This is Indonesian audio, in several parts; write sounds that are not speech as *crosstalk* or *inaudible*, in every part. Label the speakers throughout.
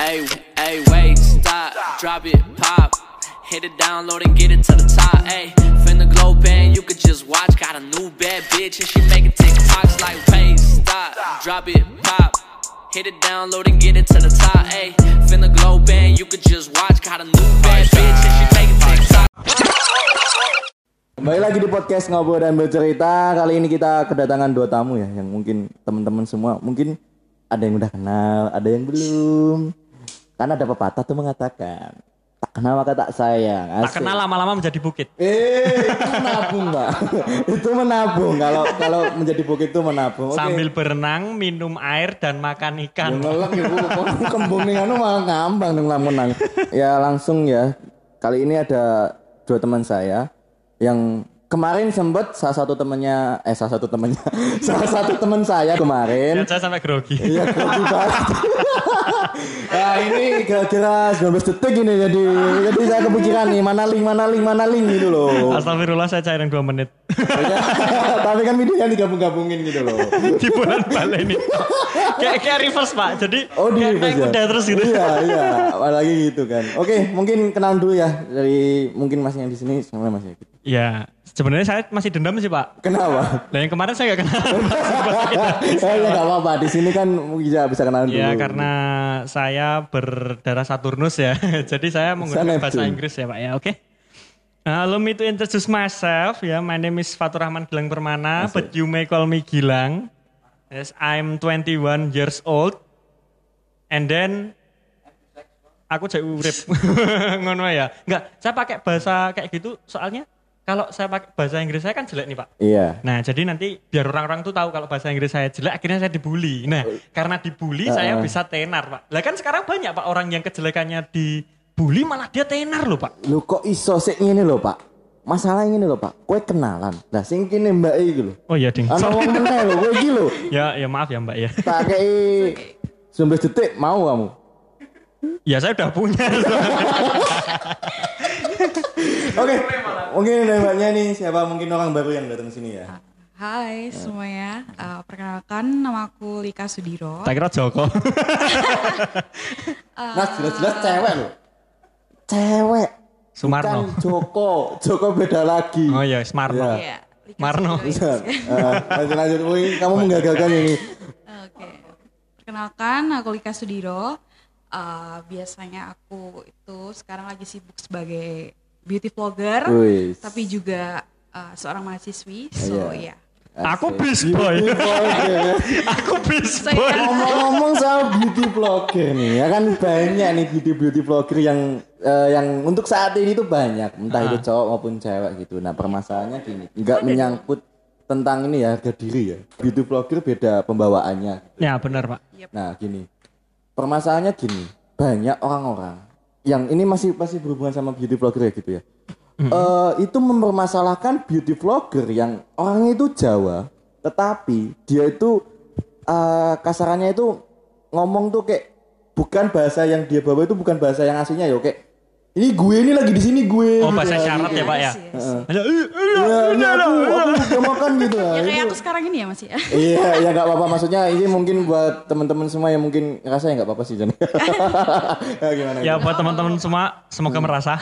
Speaker 1: Hey, hey, wait, stop, drop it, pop. Hit it, download and get it to the top. Hey, finna glow band, you could just watch. Got a new bad bitch and she making TikToks like, wait, stop, drop it, pop. Hit it, download and get it to the top. Hey, finna glow band, you could just watch. Got a new bad bitch and she making TikToks.
Speaker 2: Kembali lagi di podcast Ngobrol dan Bercerita. Kali ini kita kedatangan dua tamu ya yang mungkin teman-teman semua mungkin ada yang udah kenal, ada yang belum. Karena ada pepatah tuh mengatakan tak kenal maka tak sayang.
Speaker 3: Tak kenal lama-lama menjadi bukit.
Speaker 2: Eh, itu menabung, Pak. *laughs* itu menabung. Kalau kalau menjadi bukit itu menabung. Oke.
Speaker 3: Sambil berenang, minum air dan makan
Speaker 2: Ya
Speaker 3: ikan.
Speaker 2: ngelek ya, Bu. Kok kembung nih, anu malah ngambang dengan lamunan. Ya langsung ya. Kali ini ada dua teman saya yang kemarin sempet salah satu temennya eh salah satu temennya *laughs* salah satu teman saya kemarin
Speaker 3: Lihat saya sampai grogi.
Speaker 2: ya grogi *laughs* banget. Nah, ini kira-kira 19 detik ini jadi jadi saya kepikiran nih mana link mana link mana link gitu loh.
Speaker 3: Astagfirullah saya cairan 2 menit. *laughs*
Speaker 2: *laughs* Tapi kan videonya digabung-gabungin gitu loh.
Speaker 3: di bulan balik
Speaker 2: *laughs*
Speaker 3: ini. kayak kayak reverse Pak. Jadi
Speaker 2: Oh di
Speaker 3: kayak, kayak
Speaker 2: reverse ya?
Speaker 3: kuda terus gitu.
Speaker 2: Iya iya, apalagi gitu kan. Oke, mungkin kenalan dulu ya dari mungkin mas yang di sini sama mas Yaki.
Speaker 3: *laughs* Ya, sebenarnya saya masih dendam sih Pak. *laughs*
Speaker 2: Kenapa?
Speaker 3: Lah yang kemarin saya gak kenal. *laughs* Iya.
Speaker 2: Eh ya nggak apa-apa. Di sini kan bisa bisa kenalan dulu.
Speaker 3: ya karena saya berdarah Saturnus ya. *laughs* Jadi saya
Speaker 2: Sana
Speaker 3: menggunakan
Speaker 2: Neptune.
Speaker 3: bahasa Inggris ya Pak ya. Oke. Uh, allow me to introduce myself. Yeah, my name is Fatur Rahman Gilang Permana, but you may call me Gilang. Yes, I'm 21 years old. And then aku jadi urip. *laughs* Ngono ya. Enggak, saya pakai bahasa kayak gitu soalnya kalau saya pakai bahasa Inggris saya kan jelek nih, Pak.
Speaker 2: Iya.
Speaker 3: Nah, jadi nanti biar orang-orang tuh tahu kalau bahasa Inggris saya jelek, akhirnya saya dibully. Nah,
Speaker 4: Oh.
Speaker 3: karena dibully saya bisa tenar, Pak. Lah kan sekarang banyak Pak orang yang kejelekannya dibully malah dia tenar loh, Pak.
Speaker 2: Lu kok iso sik ngene lho, Pak? Masalah ini lho, Pak. Kue kenalan. Lah sing kene Mbak iki lho.
Speaker 3: Oh iya, Ding.
Speaker 2: Ana
Speaker 4: Anu.
Speaker 2: wong meneh lho, kowe iki lho.
Speaker 3: Ya, ya maaf ya, Mbak ya.
Speaker 2: Tak kei 19 detik mau kamu.
Speaker 3: Ya saya udah
Speaker 4: *laughs*
Speaker 3: punya. soalnya.
Speaker 2: Oke. Mungkin dari mbaknya nih siapa mungkin orang baru yang datang sini ya.
Speaker 4: Hai
Speaker 3: Iya.
Speaker 4: semuanya, Eh, perkenalkan nama aku Lika Sudiro.
Speaker 3: tak kira Joko.
Speaker 2: Mas jelas-jelas cewek loh. Cewek. Bukan
Speaker 3: Sumarno.
Speaker 2: Joko. Joko beda lagi.
Speaker 3: Oh iya, Smarno.
Speaker 4: Iya, Lika
Speaker 3: Marno.
Speaker 4: Sudiro.
Speaker 2: Bisa. Eh, lanjut lanjut Wih, kamu menggagalkan ini.
Speaker 4: Oke, perkenalkan aku Lika Sudiro. Eh, biasanya aku itu sekarang lagi sibuk sebagai beauty vlogger,
Speaker 2: Wih.
Speaker 4: tapi juga eh, seorang mahasiswi. So
Speaker 2: Iya.
Speaker 4: ya,
Speaker 3: Aku bis
Speaker 4: *laughs*
Speaker 3: boy.
Speaker 2: Oke.
Speaker 3: Aku bis
Speaker 4: Saya- kan-
Speaker 3: boy.
Speaker 2: ya. Ngomong-ngomong soal beauty vlogger nih, ya kan banyak nih beauty beauty vlogger yang eh, yang untuk saat ini tuh banyak, entah
Speaker 3: Ah.
Speaker 2: itu cowok maupun cewek gitu. Nah permasalahannya gini, nggak menyangkut tentang ini ya harga diri ya. Beauty vlogger beda pembawaannya.
Speaker 3: Ya benar, Pak.
Speaker 2: Nah gini, permasalahannya gini, banyak orang-orang yang ini masih masih berhubungan sama beauty vlogger ya gitu ya. Eh, itu mempermasalahkan beauty vlogger yang orangnya itu Jawa, tetapi dia itu eh, kasarannya itu ngomong tuh kayak bukan bahasa yang dia bawa itu bukan bahasa yang aslinya ya kayak ini gue ini lagi di sini gue.
Speaker 3: Oh,
Speaker 2: gitu
Speaker 3: bahasa Iya,
Speaker 2: ya,
Speaker 3: syarat
Speaker 2: gitu.
Speaker 3: ya, Pak ya.
Speaker 4: Iya sih.
Speaker 3: Hanya, "Ih, ih,
Speaker 2: Ya, ini
Speaker 3: ih,
Speaker 2: aku,
Speaker 3: ih,
Speaker 2: aku
Speaker 3: ih."
Speaker 2: juga makan gitu
Speaker 3: Iya.
Speaker 2: lah.
Speaker 4: ya kayak
Speaker 2: Itu-
Speaker 4: aku sekarang ini ya Mas ya.
Speaker 2: Iya, ya nggak apa-apa. Maksudnya ini mungkin buat teman-teman semua yang mungkin ngerasa ya nggak apa-apa sih Jan. ya gimana?
Speaker 3: Ya buat teman-teman semua semoga
Speaker 4: Iya.
Speaker 3: merasa.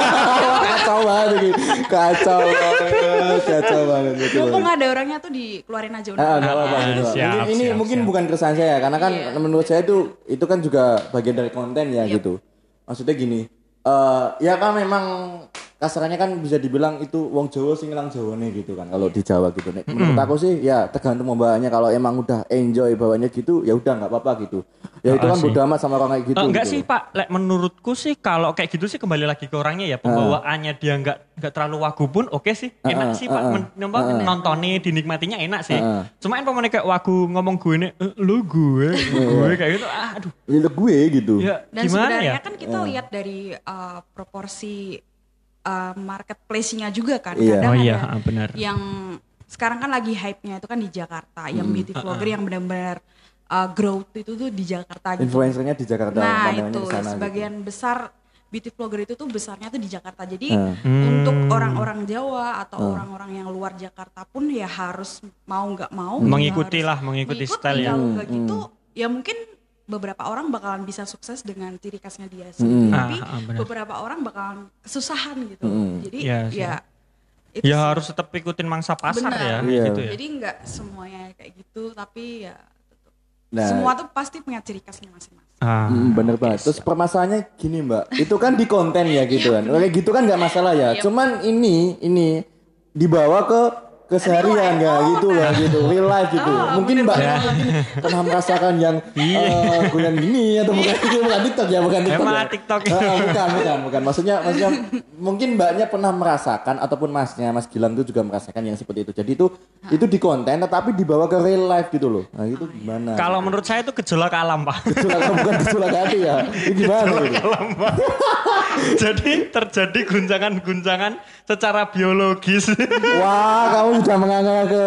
Speaker 2: kacau banget ini. Kacau banget, kacau banget gitu.
Speaker 4: Mumpung ada orangnya tuh dikeluarin aja udah.
Speaker 2: Ah, nggak apa-apa gitu. Pak.
Speaker 3: Siap,
Speaker 2: mungkin ini
Speaker 3: siap,
Speaker 2: mungkin
Speaker 3: siap.
Speaker 2: bukan keresahan saya karena kan
Speaker 4: Iya.
Speaker 2: menurut saya itu itu kan juga bagian dari konten ya gitu. Maksudnya gini, eh ya kan memang kasarannya kan bisa dibilang itu wong Jawa sing ngelang Jawane gitu kan kalau di Jawa gitu. Nek,
Speaker 3: Hmm.
Speaker 2: menurut aku sih ya tergantung pembawaannya kalau emang udah enjoy bawaannya gitu ya udah nggak apa-apa gitu. Ya itu kan bodo amat sama orang kayak gitu.
Speaker 3: Eh, Ah, enggak
Speaker 2: gitu.
Speaker 3: sih Pak, Lek, menurutku sih kalau kayak gitu sih kembali lagi ke orangnya
Speaker 4: Ah.
Speaker 3: ya pembawaannya dia enggak enggak terlalu wagu pun oke sih enak sih
Speaker 4: ah,
Speaker 3: Pak Men- nyoba nontoni dinikmatinya enak sih. Cuma kan pemain kayak wagu ngomong gue ini eh, lu gue gue kayak gitu ah, aduh
Speaker 2: Ya, lu gue gitu.
Speaker 3: ya
Speaker 4: Iya. Dan
Speaker 3: gimana
Speaker 4: sebenarnya
Speaker 3: ya?
Speaker 4: kan kita lihat dari uh, proporsi uh, marketplace-nya juga kan.
Speaker 2: Iya.
Speaker 3: Oh
Speaker 4: Kadang
Speaker 3: iya,
Speaker 4: ada
Speaker 3: ah, benar.
Speaker 4: Yang sekarang kan lagi hype-nya itu kan di Jakarta, yang beauty
Speaker 3: Uh-uh.
Speaker 4: vlogger yang benar-benar uh, growth itu tuh di Jakarta. gitu.
Speaker 2: Influencernya di Jakarta
Speaker 4: Nah
Speaker 2: pandangannya
Speaker 4: itu
Speaker 2: di sana. gitu.
Speaker 4: sebagian besar beauty vlogger itu tuh besarnya tuh di Jakarta. Jadi
Speaker 2: Hmm.
Speaker 4: untuk orang-orang Jawa atau orang-orang yang luar Jakarta pun ya harus mau nggak mau
Speaker 3: Hmm. Mengikuti
Speaker 2: Hmm,
Speaker 4: harus
Speaker 3: lah, mengikuti style ya.
Speaker 4: Kalau nggak gitu ya mungkin beberapa orang bakalan bisa sukses dengan ciri khasnya dia sih.
Speaker 2: Hmm.
Speaker 4: Tapi
Speaker 3: Ah, ah, benar.
Speaker 4: beberapa orang bakalan kesusahan gitu.
Speaker 2: Hmm.
Speaker 4: Jadi
Speaker 3: Iya sih.
Speaker 4: ya itu
Speaker 3: ya
Speaker 4: sih.
Speaker 3: harus tetap ikutin mangsa pasar
Speaker 4: Benar.
Speaker 3: ya
Speaker 2: Iya.
Speaker 3: gitu ya.
Speaker 4: Jadi nggak semuanya kayak gitu, tapi ya
Speaker 2: Nah.
Speaker 4: semua tuh pasti punya ciri khasnya
Speaker 2: *laughs*
Speaker 4: masing-masing.
Speaker 3: Ah,
Speaker 2: Mm, bener banget. Terus permasalahannya gini mbak, itu kan di konten ya gitu kan. Oke gitu kan nggak masalah ya. Cuman ini ini dibawa ke keseharian ya gitu loh gitu real life gitu. mungkin mbak mungkin pernah merasakan yang eh bukan gini atau bukan itu bukan TikTok ya bukan TikTok.
Speaker 3: Iya. Emang
Speaker 2: ya.
Speaker 3: TikTok.
Speaker 2: Eh, bukan bukan bukan. Maksudnya maksudnya mungkin mbaknya pernah merasakan ataupun masnya mas Gilang itu juga merasakan yang seperti itu. Jadi itu itu di konten tetapi dibawa ke real life gitu loh. Nah itu gimana?
Speaker 3: Kalau menurut saya itu gejolak alam pak. *laughs*
Speaker 2: Gejolak bukan gejolak hati ya. Ini gimana gitu?
Speaker 3: Jadi terjadi guncangan-guncangan secara biologis. *laughs*
Speaker 2: Wah, kamu sudah menganggap ke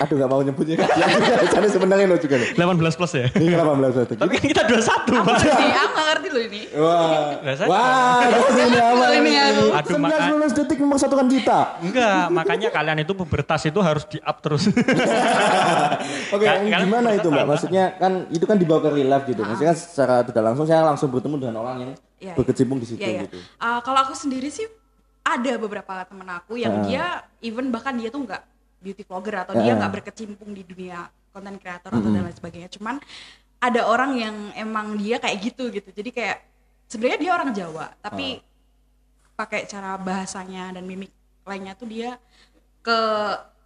Speaker 2: aduh gak mau nyebutnya. *laughs* Jadi sebenarnya lo juga nih.
Speaker 3: 18 plus ya.
Speaker 2: Ini 18 detik.
Speaker 3: Tapi kan kita 21 pak.
Speaker 4: Jadi aku Iya, nggak ngerti loh ini.
Speaker 2: Wah.
Speaker 3: Lah, saya-
Speaker 2: Wah, terus ini apa
Speaker 4: Ini
Speaker 2: ini? ya.
Speaker 4: aku.
Speaker 3: Aduh,
Speaker 2: 19 detik mempersatukan kita.
Speaker 3: Enggak, makanya kalian itu pubertas itu harus di up terus.
Speaker 2: Oh, Oke,
Speaker 3: Ka- kalian
Speaker 2: gimana
Speaker 3: pernah
Speaker 2: itu Mbak?
Speaker 3: apa?
Speaker 2: Maksudnya kan itu kan dibawa ke real life gitu. Maksudnya kan secara tidak langsung saya langsung bertemu dengan orang yang
Speaker 4: Iya, iya.
Speaker 2: berkecimpung di situ
Speaker 4: Iya, iya.
Speaker 2: gitu.
Speaker 4: Ah, kalau aku sendiri sih ada beberapa temen aku yang dia even bahkan dia tuh nggak beauty vlogger atau dia
Speaker 2: Ah.
Speaker 4: nggak berkecimpung di dunia konten kreator atau dan lain sebagainya. Cuman ada orang yang emang dia kayak gitu gitu. Jadi kayak sebenarnya dia orang Jawa
Speaker 2: Ah.
Speaker 4: tapi pakai cara bahasanya dan mimik lainnya tuh dia ke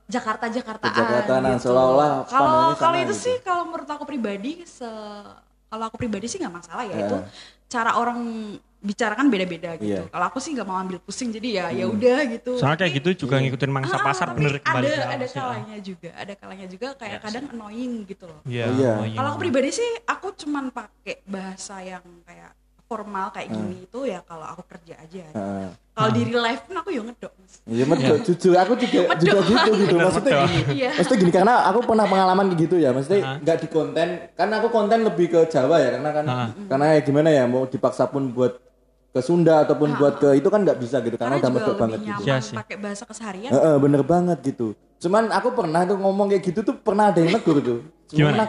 Speaker 4: Jakarta Jakartaan.
Speaker 2: Ke Jakartaan, seolah-olah
Speaker 4: Kalau
Speaker 2: pandangannya
Speaker 4: kalau
Speaker 2: sana
Speaker 4: itu
Speaker 2: gitu.
Speaker 4: sih kalau menurut aku pribadi se kalau aku pribadi sih nggak masalah ya
Speaker 2: Ya.
Speaker 4: itu cara orang bicara kan beda-beda gitu.
Speaker 2: Iya. Hmm.
Speaker 4: Kalau aku sih nggak mau ambil pusing jadi ya ya udah gitu.
Speaker 3: Soalnya kayak
Speaker 4: Tapi-
Speaker 3: gitu
Speaker 2: iya.
Speaker 3: juga ngikutin mangsa
Speaker 4: Ah,
Speaker 3: pasar
Speaker 4: tapi
Speaker 3: bener kembali.
Speaker 4: Ada
Speaker 3: ke alam
Speaker 4: ada
Speaker 3: sih, ah.
Speaker 4: kalanya juga, ada kalanya juga kayak
Speaker 3: Iya
Speaker 4: kadang annoying gitu loh.
Speaker 3: Iya.
Speaker 2: Oh, iya.
Speaker 3: oh, iya.
Speaker 4: Kalau aku pribadi sih aku cuman pakai bahasa yang kayak formal kayak gini itu ya kalau aku kerja aja.
Speaker 2: Hmm. Heeh.
Speaker 4: Kalau
Speaker 3: Hmm.
Speaker 4: di real life pun aku ya ngedok. Mas.
Speaker 2: Nah, Iya, medok. Jujur aku juga juga gitu gitu. Maksudnya
Speaker 3: medok.
Speaker 2: gini.
Speaker 4: Iya.
Speaker 2: Maksudnya Eh, gini karena aku pernah pengalaman kayak gitu ya. Maksudnya
Speaker 3: Ha.
Speaker 2: nggak di konten karena aku konten lebih ke Jawa ya karena kan
Speaker 3: Ha.
Speaker 2: karena ya gimana ya mau dipaksa pun buat ke Sunda ataupun buat ke itu kan nggak bisa gitu karena, udah
Speaker 4: juga
Speaker 2: medok
Speaker 4: lebih
Speaker 2: banget gitu.
Speaker 3: Iya
Speaker 4: nyaman
Speaker 3: sih.
Speaker 4: pakai bahasa keseharian.
Speaker 2: Heeh, bener banget gitu. Cuman aku pernah tuh ngomong kayak gitu tuh pernah ada yang negur tuh.
Speaker 3: Gimana?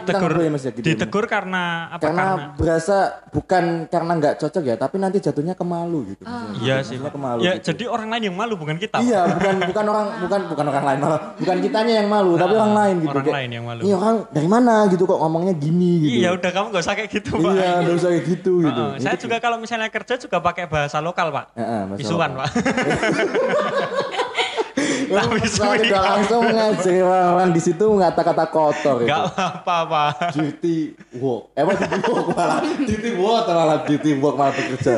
Speaker 2: Pernah kita
Speaker 3: Tegur,
Speaker 2: ngobrol ya mas ya gitu.
Speaker 3: ditegur karena apa?
Speaker 2: karena,
Speaker 3: Karena,
Speaker 2: berasa bukan karena nggak cocok ya tapi nanti jatuhnya ke malu gitu.
Speaker 3: Iya sih.
Speaker 2: Jatuhnya ke malu
Speaker 3: Ya,
Speaker 2: gitu.
Speaker 3: jadi orang lain yang malu bukan kita.
Speaker 2: Iya, bukan bukan orang bukan bukan orang lain malah bukan kitanya yang malu, tapi orang lain gitu.
Speaker 3: Ah, orang
Speaker 2: Kayak,
Speaker 3: lain yang malu.
Speaker 2: Ini orang dari mana gitu kok ngomongnya gini gitu.
Speaker 3: Iya, udah kamu gak usah kayak gitu, Pak.
Speaker 2: Iya, nggak usah kayak gitu gitu.
Speaker 3: Heeh, saya juga kalau misalnya kerja juga pakai bahasa lokal, Pak.
Speaker 2: Heeh, bahasa
Speaker 3: Isuan,
Speaker 2: lokal.
Speaker 3: Pak. *laughs*
Speaker 2: Wah,
Speaker 3: tapi
Speaker 2: saya
Speaker 3: suwi.
Speaker 2: udah langsung ngajari orang-orang di situ nggak kata-kata kotor gitu.
Speaker 3: Gak apa-apa, Pak.
Speaker 2: Duty walk, eh apa duty walk malah, duty walk malah duty walk malah bekerja.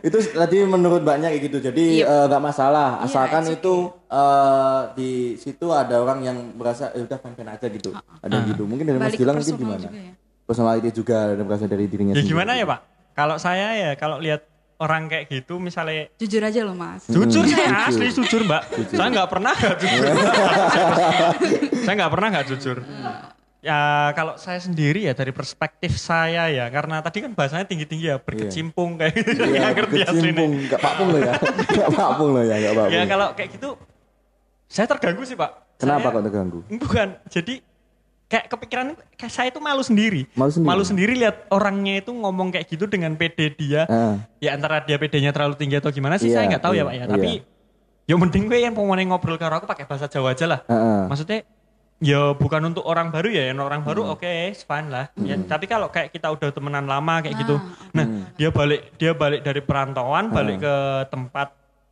Speaker 2: Itu tadi menurut banyak kayak gitu, jadi eh, nggak masalah, asalkan
Speaker 4: Iya, it's
Speaker 2: itu eh, di situ ada orang yang merasa eh, udah fan-fan aja gitu, ada yang gitu. Mungkin dari Mas
Speaker 4: Ah, Balik ke
Speaker 2: Gilang mungkin
Speaker 4: personal
Speaker 2: gimana?
Speaker 4: juga ya.
Speaker 2: Personality juga ada berasal dari dirinya
Speaker 3: Ya
Speaker 2: sendiri.
Speaker 3: gimana ya, Pak? Kalau saya ya kalau lihat orang kayak gitu misalnya
Speaker 4: Jujur aja loh mas.
Speaker 3: Jujur saya asli jujur mbak. Saya nggak pernah nggak
Speaker 2: *laughs*
Speaker 3: jujur. saya nggak pernah nggak jujur. Ya kalau saya sendiri ya dari perspektif saya ya karena tadi kan bahasanya tinggi-tinggi ya berkecimpung kayak gitu.
Speaker 2: Iya,
Speaker 3: Nggak ngerti aslinya.
Speaker 2: berkecimpung, nggak papung loh ya, *laughs* nggak papung loh ya, nggak papung.
Speaker 3: Ya kalau kayak gitu saya terganggu sih pak.
Speaker 2: Kenapa
Speaker 3: Saya-
Speaker 2: kok terganggu?
Speaker 3: Bukan. Jadi kayak kepikiran kayak saya itu malu sendiri.
Speaker 2: Malu sendiri?
Speaker 3: lihat orangnya itu ngomong kayak gitu dengan PD dia. *laughs*
Speaker 2: Ah.
Speaker 3: Ya antara dia PD-nya terlalu tinggi atau gimana sih
Speaker 2: Iya,
Speaker 3: saya nggak
Speaker 2: iya,
Speaker 3: tahu ya Pak ya.
Speaker 2: iya.
Speaker 3: Tapi ya mending gue yang pengen ngobrol karo aku pakai bahasa Jawa aja lah.
Speaker 2: Heeh.
Speaker 3: Maksudnya ya bukan untuk orang baru ya, yang orang baru
Speaker 2: Hmm.
Speaker 3: oke, it's fine lah. Ya, tapi kalau kayak kita udah temenan lama kayak gitu. Nah, dia balik dia balik dari perantauan balik ke tempat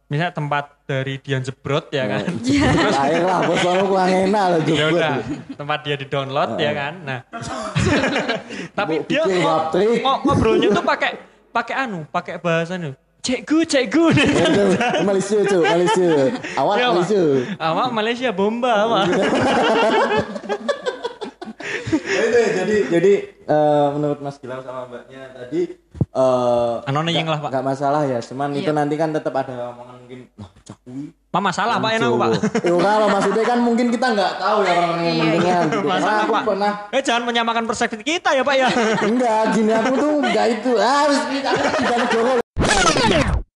Speaker 3: misalnya tempat dari Dian Jebrot ya kan.
Speaker 2: Air lah, bos kamu kurang enak Eh, loh
Speaker 3: *laughs* ya
Speaker 2: jebret.
Speaker 3: udah tempat dia di download ya kan
Speaker 2: *laughs*
Speaker 3: nah
Speaker 2: Bu,
Speaker 3: tapi dia
Speaker 2: pikir
Speaker 3: ngo-
Speaker 2: baterai.
Speaker 3: ngo- ngobrolnya tuh pakai pakai anu pakai bahasa anu cekgu cekgu *laughs*
Speaker 2: Aduh, Malaysia cuy, Malaysia. Awak
Speaker 3: Iya, Pak.
Speaker 2: Malaysia.
Speaker 3: awak Malaysia bomba awak
Speaker 2: Itu, Ya jadi jadi eh, menurut Mas Gilang sama Mbaknya tadi eh
Speaker 3: Anonim
Speaker 2: nggak-
Speaker 3: lah, Pak.
Speaker 2: nggak masalah ya, cuman itu
Speaker 4: Iya.
Speaker 2: nanti kan tetap ada omongan mungkin "Wah, cakui.
Speaker 3: pak masalah pak enak pak
Speaker 2: Eh, ora lah maksudnya kan mungkin kita nggak tahu ya orang yang mendengar. gitu. Karena
Speaker 3: masalah
Speaker 2: aku
Speaker 3: pak
Speaker 2: pernah
Speaker 3: eh jangan menyamakan persepsi kita ya pak ya
Speaker 2: enggak gini aku tuh enggak itu. Ah, wis, aku tidak negara.